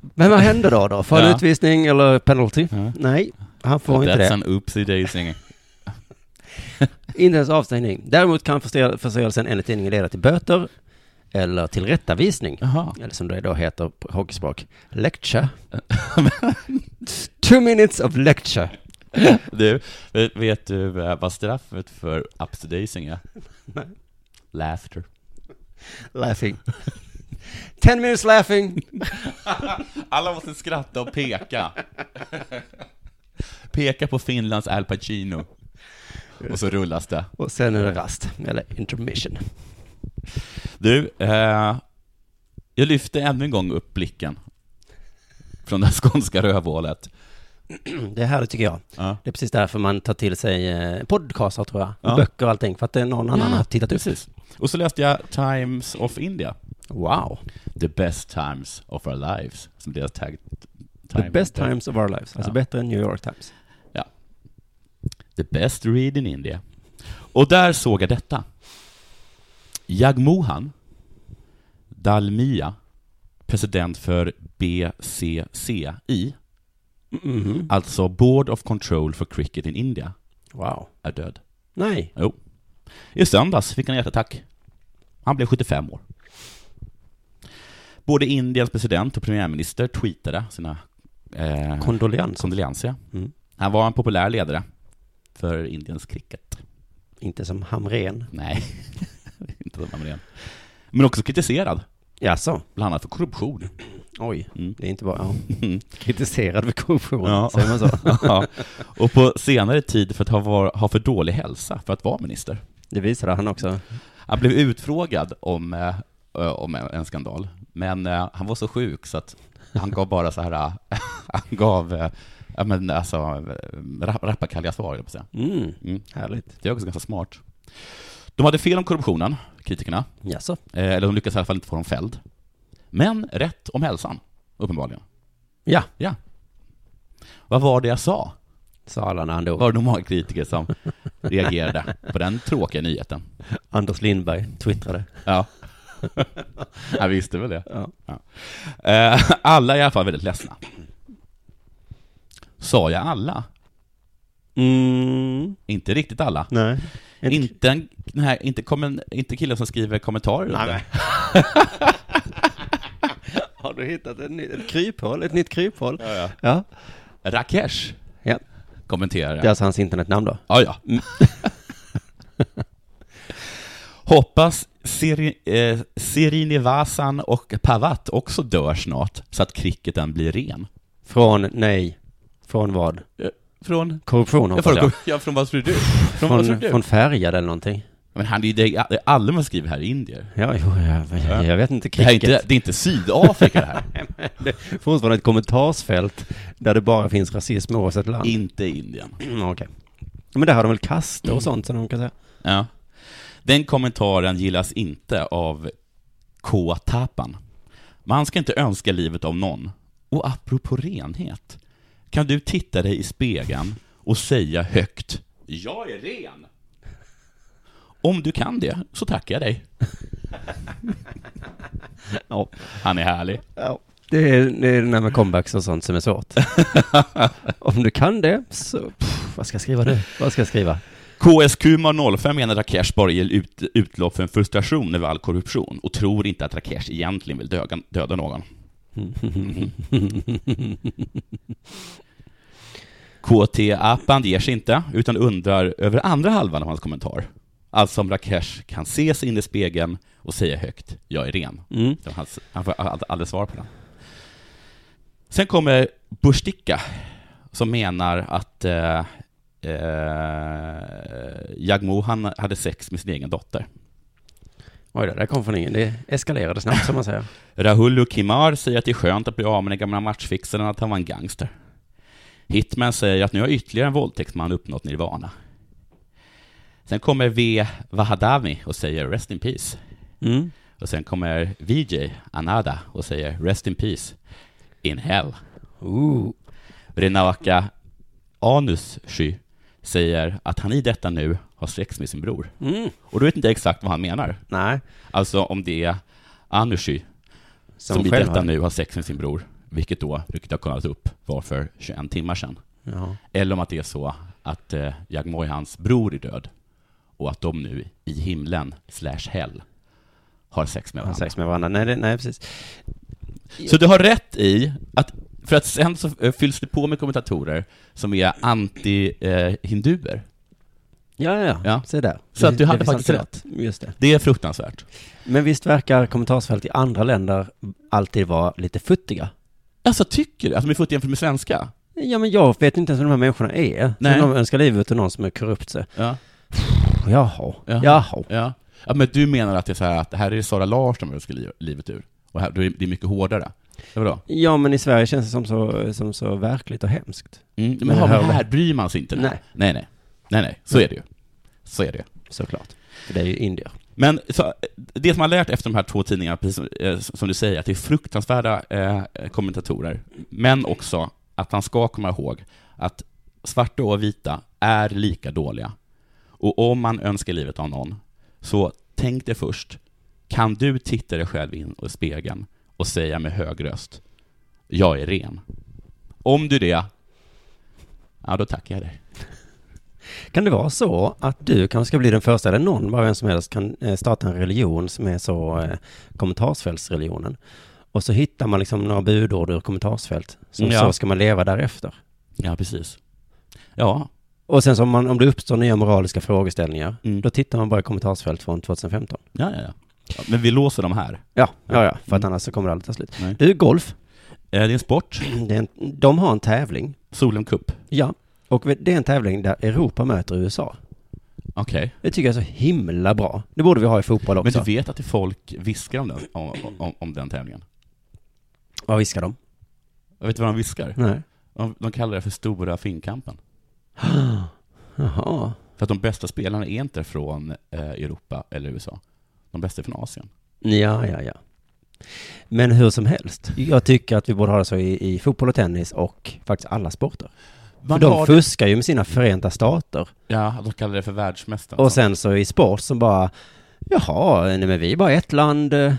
[SPEAKER 3] Men vad händer då? då? Får han
[SPEAKER 4] Ja.
[SPEAKER 3] utvisning eller penalty?
[SPEAKER 4] Ja.
[SPEAKER 3] Nej, han får inte
[SPEAKER 4] That's
[SPEAKER 3] det.
[SPEAKER 4] an oopsie daisy.
[SPEAKER 3] Inte ens avstängning. Däremot kan förse- förseelsen enligt tidningen leda till böter eller till rättavisning.
[SPEAKER 4] Jaha.
[SPEAKER 3] eller som det då heter på hockeyspråk, lecture. Two minutes of lecture.
[SPEAKER 4] Du, vet- vet du eh, vad straffet för upsedacing är? Laughter.
[SPEAKER 3] Laughing. Ten minutes laughing.
[SPEAKER 4] Alla måste skratta och peka. Peka på Finlands Al Pacino. Och så rullas det.
[SPEAKER 3] Och sen är det rast, eller intermission.
[SPEAKER 4] Du, eh, jag lyfte ännu en gång upp blicken från det skånska rövhålet.
[SPEAKER 3] Det här tycker jag.
[SPEAKER 4] Ja.
[SPEAKER 3] Det är precis därför man tar till sig eh, podcastar tror jag.
[SPEAKER 4] Ja.
[SPEAKER 3] Och böcker och allting. För att det är någon annan
[SPEAKER 4] Ja,
[SPEAKER 3] har tittat upp.
[SPEAKER 4] Precis. Och så läste jag Times of India.
[SPEAKER 3] Wow.
[SPEAKER 4] The best times of our lives, som deras tag...
[SPEAKER 3] The best times of our lives. Alltså
[SPEAKER 4] Ja.
[SPEAKER 3] bättre än New York Times.
[SPEAKER 4] The best read in India. Och där såg jag detta. Jagmohan Dalmia, president för BCCI,
[SPEAKER 3] Mm-hmm.
[SPEAKER 4] alltså Board of Control for Cricket in India,
[SPEAKER 3] Wow.
[SPEAKER 4] är död.
[SPEAKER 3] Nej.
[SPEAKER 4] Jo. I söndags fick han hjärtattack. Han blev 75 år. Både Indiens president och premiärminister tweetade sina eh,
[SPEAKER 3] Kondoljans.
[SPEAKER 4] kondolenser.
[SPEAKER 3] Mm.
[SPEAKER 4] Han var en populär ledare för Indiens cricket.
[SPEAKER 3] Inte som Hamren.
[SPEAKER 4] Nej, inte som Hamrén. Men också kritiserad,
[SPEAKER 3] Jaså?
[SPEAKER 4] bland annat för korruption.
[SPEAKER 3] Oj.
[SPEAKER 4] Mm.
[SPEAKER 3] Det är inte bara... Ja. Kritiserad för korruption.
[SPEAKER 4] Ja.
[SPEAKER 3] Säger man så?
[SPEAKER 4] Ja. Och på senare tid för att ha, var, ha för dålig hälsa för att vara minister.
[SPEAKER 3] Det visade han också.
[SPEAKER 4] Han blev utfrågad om, eh, ö, om en en skandal, men eh, han var så sjuk så att han gav bara så här, eh, han gav, eh, ja men alltså, eh, rapp- rappakalja svar, höll jag på att säga.
[SPEAKER 3] Mm.
[SPEAKER 4] Mm.
[SPEAKER 3] Härligt.
[SPEAKER 4] Det är också ganska smart. De hade fel om korruptionen, kritikerna,
[SPEAKER 3] Jaså?
[SPEAKER 4] eh, eller de lyckades i alla fall inte få dem fälld. Men rätt om hälsan, uppenbarligen.
[SPEAKER 3] Ja.
[SPEAKER 4] Ja. Vad var det jag sa?
[SPEAKER 3] Sa alla när han dog.
[SPEAKER 4] Var det många kritiker som reagerade på den tråkiga nyheten?
[SPEAKER 3] Anders Lindberg twittrade.
[SPEAKER 4] Ja. Jag visste väl det.
[SPEAKER 3] Ja.
[SPEAKER 4] Eh, Alla är i alla fall väldigt ledsna. Sa jag alla?
[SPEAKER 3] Mm.
[SPEAKER 4] Inte riktigt alla.
[SPEAKER 3] Nej. Inte...
[SPEAKER 4] Inte, en, den här, inte, kommen, inte killen som skriver kommentarer
[SPEAKER 3] Nej,
[SPEAKER 4] under.
[SPEAKER 3] men. Har du hittat ett, nytt, ett kryphål? Ett nytt kryphål?
[SPEAKER 4] Ja, ja.
[SPEAKER 3] Ja.
[SPEAKER 4] Rakesh
[SPEAKER 3] ja.
[SPEAKER 4] kommenterar.
[SPEAKER 3] Det är alltså hans internetnamn då?
[SPEAKER 4] Ja, ja. Hoppas Seri- eh, Sirinivasan och Pavat också dör snart, så att cricketen blir ren.
[SPEAKER 3] Från, nej, från vad?
[SPEAKER 4] Från?
[SPEAKER 3] Korruption
[SPEAKER 4] Jag
[SPEAKER 3] hoppas
[SPEAKER 4] frågar,
[SPEAKER 3] jag.
[SPEAKER 4] ja, från vad tror du? Från, vad tror
[SPEAKER 3] Från,
[SPEAKER 4] du?
[SPEAKER 3] från färgad eller någonting.
[SPEAKER 4] Men han, det är ju det- alla man skriver här är indier.
[SPEAKER 3] Ja, jo, jag, jag, jag vet inte.
[SPEAKER 4] Det, här är
[SPEAKER 3] Cricket.
[SPEAKER 4] inte, det är inte Sydafrika det här.
[SPEAKER 3] Det är fortfarande ett kommentarsfält där det bara finns rasism oavsett land.
[SPEAKER 4] inte Indien.
[SPEAKER 3] Mm, Okej. Men där har de väl kaster och sånt som de kan säga.
[SPEAKER 4] Ja. Den kommentaren gillas inte av K. Tapan. Man ska inte önska livet av någon. Och apropå renhet, kan du titta dig i spegeln och säga högt ”Jag är ren”? Om du kan det, så tackar jag dig.
[SPEAKER 3] Ja.
[SPEAKER 4] Han är härlig.
[SPEAKER 3] Det är, det är det där med comebacks och sånt som är svårt. Om du kan det, så... Pff, vad ska jag skriva nu? Vad ska jag skriva?
[SPEAKER 4] KSQ05 menar Rakesh bara ger ut, utlopp för en frustration över all korruption och tror inte att Rakesh egentligen vill döga, döda någon. KT Appan ger sig inte, utan undrar över andra halvan av hans kommentar. Alltså om Rakesh kan se sig in i spegeln och säga högt ”Jag är ren”.
[SPEAKER 3] Mm.
[SPEAKER 4] Så Han, han får ald- aldrig svar på den. Sen kommer Burstika som menar att eh, eh, Jagmohan hade sex med sin egen dotter.
[SPEAKER 3] Oj då, där kom från ingen. Det eskalerade snabbt som man säger.
[SPEAKER 4] Rahul och Kimar säger att det är skönt att bli av med den gamla matchfixaren att han var en gangster. Hitman säger att nu har ytterligare en våldtäktsman uppnått nirvana. Sen kommer V. Vahadami och säger Rest in Peace.
[SPEAKER 3] Mm.
[SPEAKER 4] Och sen kommer VJ Anada och säger Rest in Peace in hell.
[SPEAKER 3] Ooh.
[SPEAKER 4] Renaka Anussky säger att han i detta nu har sex med sin bror.
[SPEAKER 3] Mm.
[SPEAKER 4] Och då vet inte jag exakt vad han menar.
[SPEAKER 3] Nej.
[SPEAKER 4] Alltså om det är Anushy som, i
[SPEAKER 3] själv
[SPEAKER 4] detta
[SPEAKER 3] har-
[SPEAKER 4] nu har sex med sin bror, vilket då, vilket jag kollat upp, var för 21 timmar sedan.
[SPEAKER 3] Ja.
[SPEAKER 4] Eller om att det är så att eh, Jagmoihans bror är död och att de nu i himlen slash hell har sex med
[SPEAKER 3] Har
[SPEAKER 4] varandra.
[SPEAKER 3] sex med varandra. Nej, det, nej precis.
[SPEAKER 4] Så du har rätt i att, för att sen så eh, fylls det på med kommentatorer som är anti-hinduer.
[SPEAKER 3] Ja, ja, ja.
[SPEAKER 4] Ja.
[SPEAKER 3] Se där.
[SPEAKER 4] Så att du
[SPEAKER 3] Det
[SPEAKER 4] hade
[SPEAKER 3] finns
[SPEAKER 4] faktiskt
[SPEAKER 3] alltid något. Just det.
[SPEAKER 4] det är fruktansvärt.
[SPEAKER 3] Men visst verkar kommentarsfält i andra länder alltid vara lite futtiga?
[SPEAKER 4] Alltså tycker du att de är futtiga jämfört med svenska?
[SPEAKER 3] Ja, men jag vet inte ens vem de här människorna är.
[SPEAKER 4] Nej.
[SPEAKER 3] Nej. De önskar livet och någon som är korrupt. Så.
[SPEAKER 4] Ja.
[SPEAKER 3] Jaha,
[SPEAKER 4] Ja.
[SPEAKER 3] jaha.
[SPEAKER 4] Ja. ja, men du menar att det är så här att det här är Sara Larsson som ska li- livet ur? Och här, då är det är mycket hårdare? Eller vadå?
[SPEAKER 3] Ja, men i Sverige känns det som så, som så verkligt och hemskt.
[SPEAKER 4] Mm, men,
[SPEAKER 3] Men
[SPEAKER 4] ja,
[SPEAKER 3] här-
[SPEAKER 4] men här bryr man sig inte.
[SPEAKER 3] Nej.
[SPEAKER 4] Nej, nej. Nej, nej. Så är det ju. Så är det ju.
[SPEAKER 3] Såklart. För det är ju indier.
[SPEAKER 4] Men så, det som man lärt efter de här två tidningarna, precis som, eh, som du säger, att det är fruktansvärda eh, kommentatorer, men också att han ska komma ihåg att svarta och vita är lika dåliga. Och om man önskar livet av någon, så tänk dig först, kan du titta dig själv in i spegeln och säga med hög röst, jag är ren? Om du det, ja då tackar jag dig.
[SPEAKER 3] Kan det vara så att du kanske ska bli den första, eller någon, bara vem som helst, kan eh, starta en religion som är så eh, kommentarsfältsreligionen? Och så hittar man liksom några budord ur kommentarsfält, som
[SPEAKER 4] Ja.
[SPEAKER 3] så ska man leva därefter.
[SPEAKER 4] Ja, precis. Ja,
[SPEAKER 3] Och sen så om, man, om det uppstår nya moraliska frågeställningar,
[SPEAKER 4] Mm.
[SPEAKER 3] då tittar man bara i kommentarsfält från 2015.
[SPEAKER 4] ja, ja. ja. ja men vi låser dem här.
[SPEAKER 3] Ja, ja, ja, för att
[SPEAKER 4] Mm.
[SPEAKER 3] annars så kommer det aldrig ta slut.
[SPEAKER 4] Nej.
[SPEAKER 3] Du, golf,
[SPEAKER 4] Eh, Det är en sport.
[SPEAKER 3] det är en, de har en tävling,
[SPEAKER 4] Solheim Cup.
[SPEAKER 3] ja, och det är en tävling där Europa möter USA.
[SPEAKER 4] Okej.
[SPEAKER 3] Det tycker jag är så himla bra. Det borde vi ha i fotboll
[SPEAKER 4] Men
[SPEAKER 3] också.
[SPEAKER 4] du vet att det folk viskar om den, om, om, om den tävlingen?
[SPEAKER 3] Vad viskar de?
[SPEAKER 4] Jag vet du vad de viskar?
[SPEAKER 3] Nej.
[SPEAKER 4] De, de kallar det för Stora Finnkampen.
[SPEAKER 3] Jaha.
[SPEAKER 4] För att de bästa spelarna är inte från eh, Europa eller USA. De bästa är från Asien.
[SPEAKER 3] Ja, ja, ja. Men hur som helst, jag tycker att vi borde ha det så i, i fotboll och tennis och faktiskt alla sporter. För
[SPEAKER 4] Man
[SPEAKER 3] de
[SPEAKER 4] har-
[SPEAKER 3] fuskar ju med sina Förenta Stater.
[SPEAKER 4] Ja, de kallar det för världsmästare.
[SPEAKER 3] Och sen så i sport som bara, jaha, nej men vi är bara ett land. eh."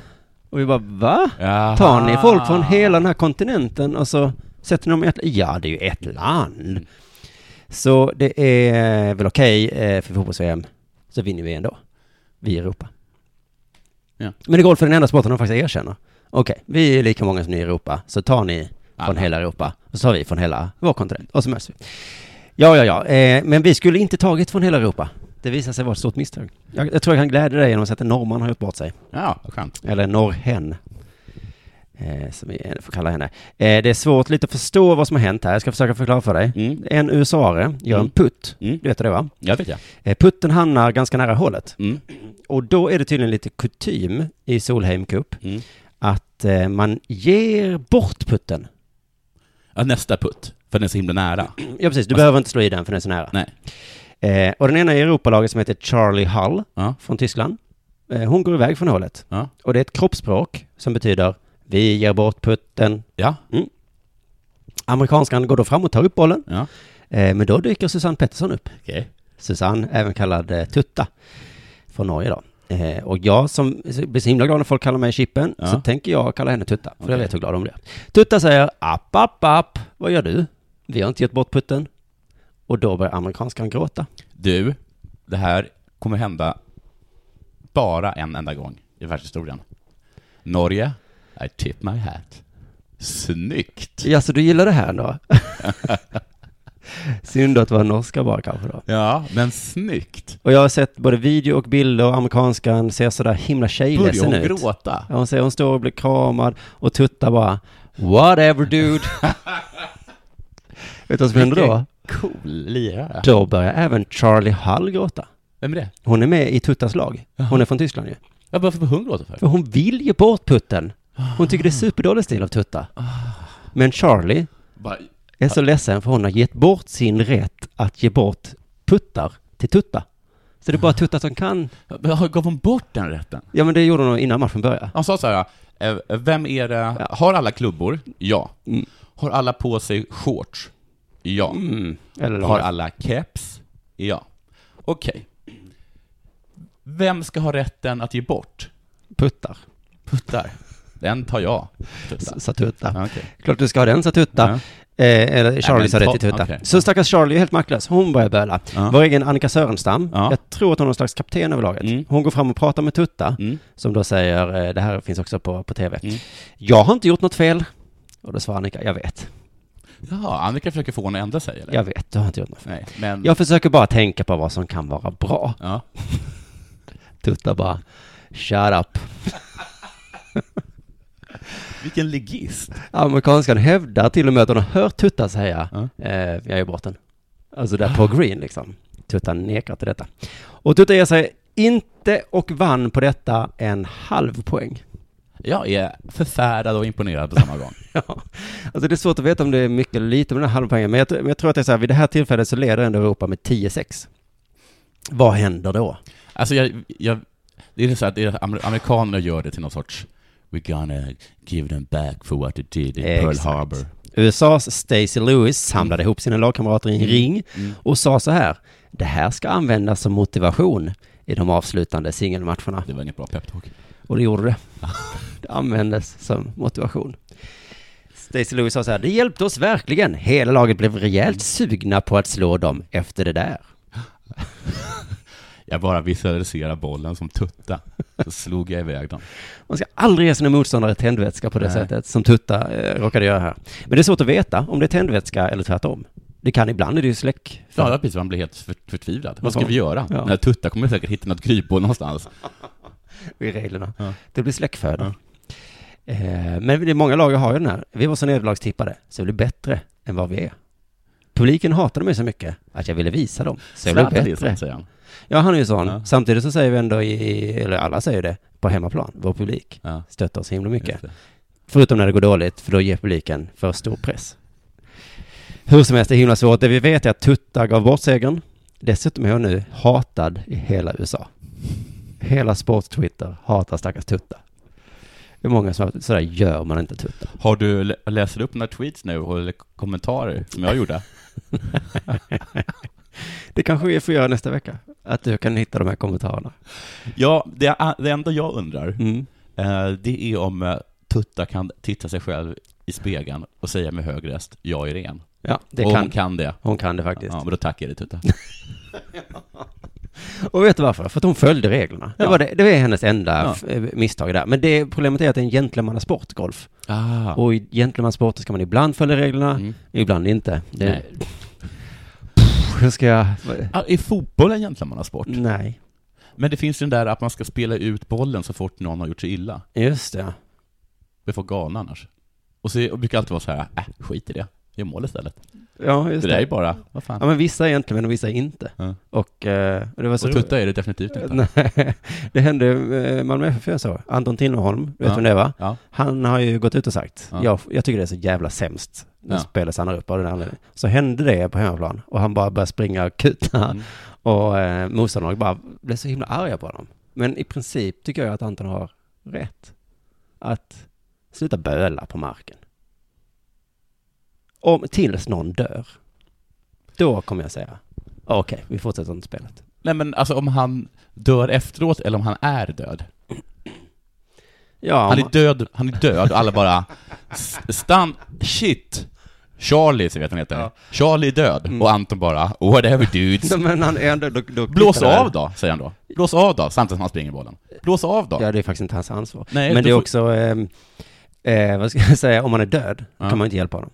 [SPEAKER 3] Och vi bara, va?
[SPEAKER 4] Jaha.
[SPEAKER 3] Tar ni folk från hela den här kontinenten och så sätter ni dem i ett, ja det är ju ett land. Så det är väl okej eh, för fotbolls-VM, så vinner vi ändå. Vi i Europa.
[SPEAKER 4] Ja.
[SPEAKER 3] Men det är golf är den enda sporten de faktiskt erkänner. Okej, vi är lika många som ni i Europa, så tar ni från
[SPEAKER 4] Alla.
[SPEAKER 3] hela Europa, och så tar vi från hela vår kontinent, och så möts vi. Ja, ja, ja, eh, men vi skulle inte tagit från hela Europa. Det visade sig vara ett stort misstag. Jag, jag tror jag kan glädja dig genom att säga att en norrman har gjort bort sig.
[SPEAKER 4] Ja, vad skönt.
[SPEAKER 3] Eller norrhen. Eh, som vi får kalla henne. Eh, det är svårt lite att förstå vad som har hänt här. Jag ska försöka förklara för dig.
[SPEAKER 4] Mm.
[SPEAKER 3] En USA-are gör
[SPEAKER 4] Mm.
[SPEAKER 3] en putt.
[SPEAKER 4] Mm.
[SPEAKER 3] Du vet det va?
[SPEAKER 4] Ja, vet jag.
[SPEAKER 3] Eh, putten hamnar ganska nära hålet.
[SPEAKER 4] Mm.
[SPEAKER 3] Och då är det tydligen lite kutym i Solheim Cup
[SPEAKER 4] Mm.
[SPEAKER 3] att eh, man ger bort putten.
[SPEAKER 4] Ja, nästa putt. För den är så himla nära.
[SPEAKER 3] Ja precis, du behöver inte slå i den för den är så nära.
[SPEAKER 4] Nej.
[SPEAKER 3] Eh, och den ena är Europalaget som heter Charlie Hull
[SPEAKER 4] Ja.
[SPEAKER 3] från Tyskland. Eh, hon går iväg från hålet.
[SPEAKER 4] Ja.
[SPEAKER 3] Och det är ett kroppsspråk som betyder vi ger bort putten,
[SPEAKER 4] Ja.
[SPEAKER 3] Amerikanskan går då fram och tar upp bollen,
[SPEAKER 4] Ja.
[SPEAKER 3] eh, men då dyker Susanne Pettersson upp.
[SPEAKER 4] Okej.
[SPEAKER 3] Susanne, även kallad eh, Tutta, från Norge då. Eh, och jag som blir så himla glad när folk kallar mig Chippen,
[SPEAKER 4] Ja.
[SPEAKER 3] så tänker jag kalla henne Tutta, för jag
[SPEAKER 4] Okej.
[SPEAKER 3] vet hur glad hon blir. Tutta säger app, app, app, vad gör du? Vi har inte gett bort putten. Och då börjar amerikanskan gråta.
[SPEAKER 4] Du, det här kommer hända bara en enda gång i världshistorien. Norge, I tip my hat. Snyggt!
[SPEAKER 3] Ja, så du gillar det här då? Synd att vara norska bara kanske då.
[SPEAKER 4] Ja, men snyggt!
[SPEAKER 3] Och jag har sett både video och bilder och amerikanskan ser sådär himla
[SPEAKER 4] Börjar
[SPEAKER 3] tjejledsen
[SPEAKER 4] hon
[SPEAKER 3] ut.
[SPEAKER 4] gråta?
[SPEAKER 3] Ja, hon säger hon står och blir kramad och tuttar bara Whatever dude. Vet du vad som händer då?
[SPEAKER 4] Cool lirare.
[SPEAKER 3] Då börjar även Charlie Hull gråta.
[SPEAKER 4] Vem är det?
[SPEAKER 3] Hon är med i Tuttas lag. Hon är från Tyskland ju.
[SPEAKER 4] Ja, varför får hon gråta för?
[SPEAKER 3] För hon vill ge bort putten. Hon tycker det är superdålig stil av Tutta. Men Charlie
[SPEAKER 4] Bara,
[SPEAKER 3] är så ledsen för hon har gett bort sin rätt att ge bort puttar till Tutta. Så det är bara Tutta som kan.
[SPEAKER 4] men har- gav hon bort den rätten?
[SPEAKER 3] Ja men det gjorde hon innan matchen började.
[SPEAKER 4] Han sa så här, eh, vem är det? Har alla klubbor? Ja.
[SPEAKER 3] Mm.
[SPEAKER 4] Har alla på sig shorts? Ja.
[SPEAKER 3] Eller
[SPEAKER 4] Har alla keps? Ja. Okej. Vem ska ha rätten att ge bort
[SPEAKER 3] puttar,
[SPEAKER 4] puttar? Den tar jag. Puttar.
[SPEAKER 3] sa Tutta.
[SPEAKER 4] Ja, okej.
[SPEAKER 3] Klart du ska ha den, sa Tutta.
[SPEAKER 4] Ja.
[SPEAKER 3] Eh, eller Charlie
[SPEAKER 4] men
[SPEAKER 3] sa det
[SPEAKER 4] ta-
[SPEAKER 3] till Tutta.
[SPEAKER 4] okej.
[SPEAKER 3] Så stackars Charlie är helt maktlös. Hon börjar böla.
[SPEAKER 4] Ja.
[SPEAKER 3] Vår egen Annika Sörenstam,
[SPEAKER 4] Ja.
[SPEAKER 3] jag tror att hon är någon slags kapten över laget.
[SPEAKER 4] Mm.
[SPEAKER 3] Hon går fram och pratar med Tutta,
[SPEAKER 4] Mm.
[SPEAKER 3] som då säger, eh, det här finns också på, på tv.
[SPEAKER 4] Mm.
[SPEAKER 3] Jag har inte gjort något fel. Och då svarar Annika, jag vet.
[SPEAKER 4] Ja, Annika försöker få henne att ändra sig, eller?
[SPEAKER 3] Jag vet, du har inte gjort något fel.
[SPEAKER 4] Nej, men...
[SPEAKER 3] Jag försöker bara tänka på vad som kan vara bra.
[SPEAKER 4] Ja.
[SPEAKER 3] Tutta bara, shut up.
[SPEAKER 4] Vilken ligist.
[SPEAKER 3] Amerikanskan hävdar till och med att hon har hört Tutta säga,
[SPEAKER 4] Ja. Ah.
[SPEAKER 3] eh, jag är bort den. Alltså där på green liksom. Tuta nekar till detta. Och Tuta ger sig inte och vann på detta en halv poäng.
[SPEAKER 4] Jag är förfärad och imponerad på samma gång.
[SPEAKER 3] Ja. Alltså det är svårt att veta om det är mycket eller lite med den här halvpoängen, men jag, men jag tror att det är så här, vid det här tillfället så leder ändå Europa med 10-6. Vad händer då?
[SPEAKER 4] Alltså jag, jag, det är så att det är, amer- amerikanerna gör det till någon sorts We're gonna give them back for what they did in Pearl
[SPEAKER 3] Exakt.
[SPEAKER 4] Harbor.
[SPEAKER 3] USAs Stacey Lewis samlade ihop sina lagkamrater i en ring
[SPEAKER 4] Mm.
[SPEAKER 3] och sa så här, det här ska användas som motivation i de avslutande singelmatcherna.
[SPEAKER 4] Det var inget bra peptalk.
[SPEAKER 3] Och det gjorde det. Det användes som motivation. Stacey Lewis sa så här, det hjälpte oss verkligen. Hela laget blev rejält sugna på att slå dem efter det där.
[SPEAKER 4] Jag bara visualiserade bollen som tutta, så slog jag iväg den.
[SPEAKER 3] Man ska aldrig ge sina motståndare tändvätska på det
[SPEAKER 4] Nej.
[SPEAKER 3] sättet som Tutta eh, råkade göra här. Men det är svårt att veta om det är tändvätska eller tvärtom. Det kan ibland är det ju släck.
[SPEAKER 4] Ja, det var precis, man blev helt för, förtvivlad. Vad ska
[SPEAKER 3] Ja.
[SPEAKER 4] vi göra?
[SPEAKER 3] Ja.
[SPEAKER 4] Den här tutta kommer säkert hitta något kryphål någonstans.
[SPEAKER 3] i reglerna.
[SPEAKER 4] Ja.
[SPEAKER 3] Det blir släckföda. Eh, men det är många lag har ju den här. Vi var så nederlagstippade, så jag blev bättre än vad vi är. Publiken hatade mig så mycket att jag ville visa dem. Så jag blev
[SPEAKER 4] Zlatan är
[SPEAKER 3] bättre.
[SPEAKER 4] sånt, säger han.
[SPEAKER 3] Ja, han är ju sån.
[SPEAKER 4] Ja.
[SPEAKER 3] Samtidigt så säger vi ändå i, eller alla säger det, på hemmaplan, vår publik
[SPEAKER 4] Ja,
[SPEAKER 3] stöttar oss himla mycket.
[SPEAKER 4] just det.
[SPEAKER 3] Förutom när det går dåligt, för då ger publiken för stor press. Hur som helst, det är himla svårt. Det vi vet är att Tutta gav bort segern. Dessutom är hon nu hatad i hela USA. Hela sports-Twitter hatar stackars Tutta. Det är många som har sådär gör man inte Tutta.
[SPEAKER 4] Har du, lä- läser du upp några tweets nu, och eller kommentarer, som jag gjorde?
[SPEAKER 3] Det kanske vi får göra nästa vecka. Att du kan hitta de här kommentarerna.
[SPEAKER 4] Ja, det, det enda jag undrar,
[SPEAKER 3] Mm.
[SPEAKER 4] Eh, Det är om eh, Tutta kan titta sig själv i spegeln och säga med hög röst, jag är ren.
[SPEAKER 3] Ja, det
[SPEAKER 4] och
[SPEAKER 3] kan.
[SPEAKER 4] hon kan det.
[SPEAKER 3] Hon kan det faktiskt.
[SPEAKER 4] Ja, men då tackar jag dig Tutta.
[SPEAKER 3] Och vet du varför? För att hon följde reglerna. Det,
[SPEAKER 4] Ja.
[SPEAKER 3] var det, det är hennes enda
[SPEAKER 4] Ja.
[SPEAKER 3] f- eh, misstag där. Men det problemet är att det är en gentlemannasport, golf.
[SPEAKER 4] Ah.
[SPEAKER 3] Och i gentlemannasporter ska man ibland följa reglerna,
[SPEAKER 4] Mm.
[SPEAKER 3] ibland inte. Det...
[SPEAKER 4] Nej.
[SPEAKER 3] Pff, Hur ska jag...
[SPEAKER 4] Ah, är fotboll en gentlemannasport?
[SPEAKER 3] Nej,
[SPEAKER 4] Men det finns ju den där att man ska spela ut bollen så fort någon har gjort sig illa.
[SPEAKER 3] just det.
[SPEAKER 4] Vi får galna annars. Och så är- och brukar alltid vara så här, äh, skit i det. Jag mål istället.
[SPEAKER 3] Ja, just
[SPEAKER 4] Det
[SPEAKER 3] det.
[SPEAKER 4] där är bara, vad fan.
[SPEAKER 3] Ja, men vissa är gentlemän och vissa är inte.
[SPEAKER 4] Ja.
[SPEAKER 3] Och, eh, och det var så...
[SPEAKER 4] och Tutta är det definitivt inte.
[SPEAKER 3] Nej, det hände eh, Malmö FF gör så. Anton Tinnerholm, du vet
[SPEAKER 4] Ja.
[SPEAKER 3] vem det är va?
[SPEAKER 4] Ja.
[SPEAKER 3] Han har ju gått ut och sagt,
[SPEAKER 4] Ja.
[SPEAKER 3] jag, jag tycker det är så jävla sämst när
[SPEAKER 4] Ja.
[SPEAKER 3] spelet stannar upp av den anledningen. Så hände det på hemmaplan och han bara började springa och kuta
[SPEAKER 4] Mm.
[SPEAKER 3] och eh, motståndarna bara blev så himla arga på honom. Men i princip tycker jag att Anton har rätt. Att sluta böla på marken. Om, tills någon dör. Då kommer jag säga, okej, vi fortsätter inte spelet.
[SPEAKER 4] Nej men alltså om han dör efteråt eller om han är död.
[SPEAKER 3] Ja,
[SPEAKER 4] Han
[SPEAKER 3] om-
[SPEAKER 4] är död, han är död och alla bara "S- Stan, shit! Charlie, så vet han heter. Charlie är död. Och Anton bara, whatever dudes.
[SPEAKER 3] Nej, men han är ändå... Då, då
[SPEAKER 4] Blås
[SPEAKER 3] kvittar det.
[SPEAKER 4] av då, säger han då. Blås av då, samtidigt som han springer bollen. Blås av då.
[SPEAKER 3] Ja, det är faktiskt inte hans ansvar.
[SPEAKER 4] Nej,
[SPEAKER 3] men
[SPEAKER 4] då
[SPEAKER 3] det är
[SPEAKER 4] får-
[SPEAKER 3] också, ehm, eh, vad ska jag säga, om man är död
[SPEAKER 4] Ja.
[SPEAKER 3] kan man inte hjälpa honom.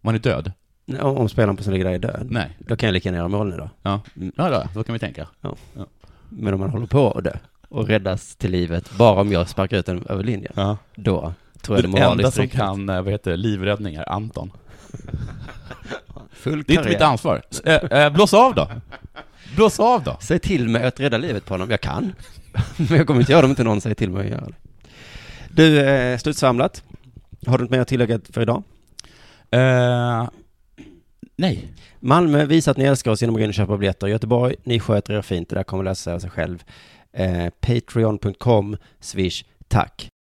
[SPEAKER 4] Man är död.
[SPEAKER 3] Nej, Om, om spelaren på som ligger där är död,
[SPEAKER 4] Nej.
[SPEAKER 3] då kan jag lika gärna göra mål nu då.
[SPEAKER 4] Ja, ja då, då kan vi tänka.
[SPEAKER 3] Men om man håller på att dö och räddas till livet bara om jag sparkar ut den över linjen,
[SPEAKER 4] Ja.
[SPEAKER 3] då tror jag det
[SPEAKER 4] Den
[SPEAKER 3] är
[SPEAKER 4] enda
[SPEAKER 3] moraliskt
[SPEAKER 4] som
[SPEAKER 3] riktigt.
[SPEAKER 4] kan, eh, vad heter det, livräddning är Anton.
[SPEAKER 3] Full
[SPEAKER 4] Det är inte mitt
[SPEAKER 3] karriär.
[SPEAKER 4] ansvar. S- eh, eh, blås av då. Blås av då.
[SPEAKER 3] Säg till mig att rädda livet på honom. Jag kan. Men jag kommer inte göra det om inte någon säger till mig att göra det. Du, eh, slutsamlat. Har du något mer att tillägga för idag?
[SPEAKER 4] Eh, nej.
[SPEAKER 3] Malmö, visa att ni älskar oss genom att gå in och köpa biljetter. Göteborg, ni sköter er fint. Det där kommer läsa sig av sig själv. Eh, Patreon.com, Swish, tack.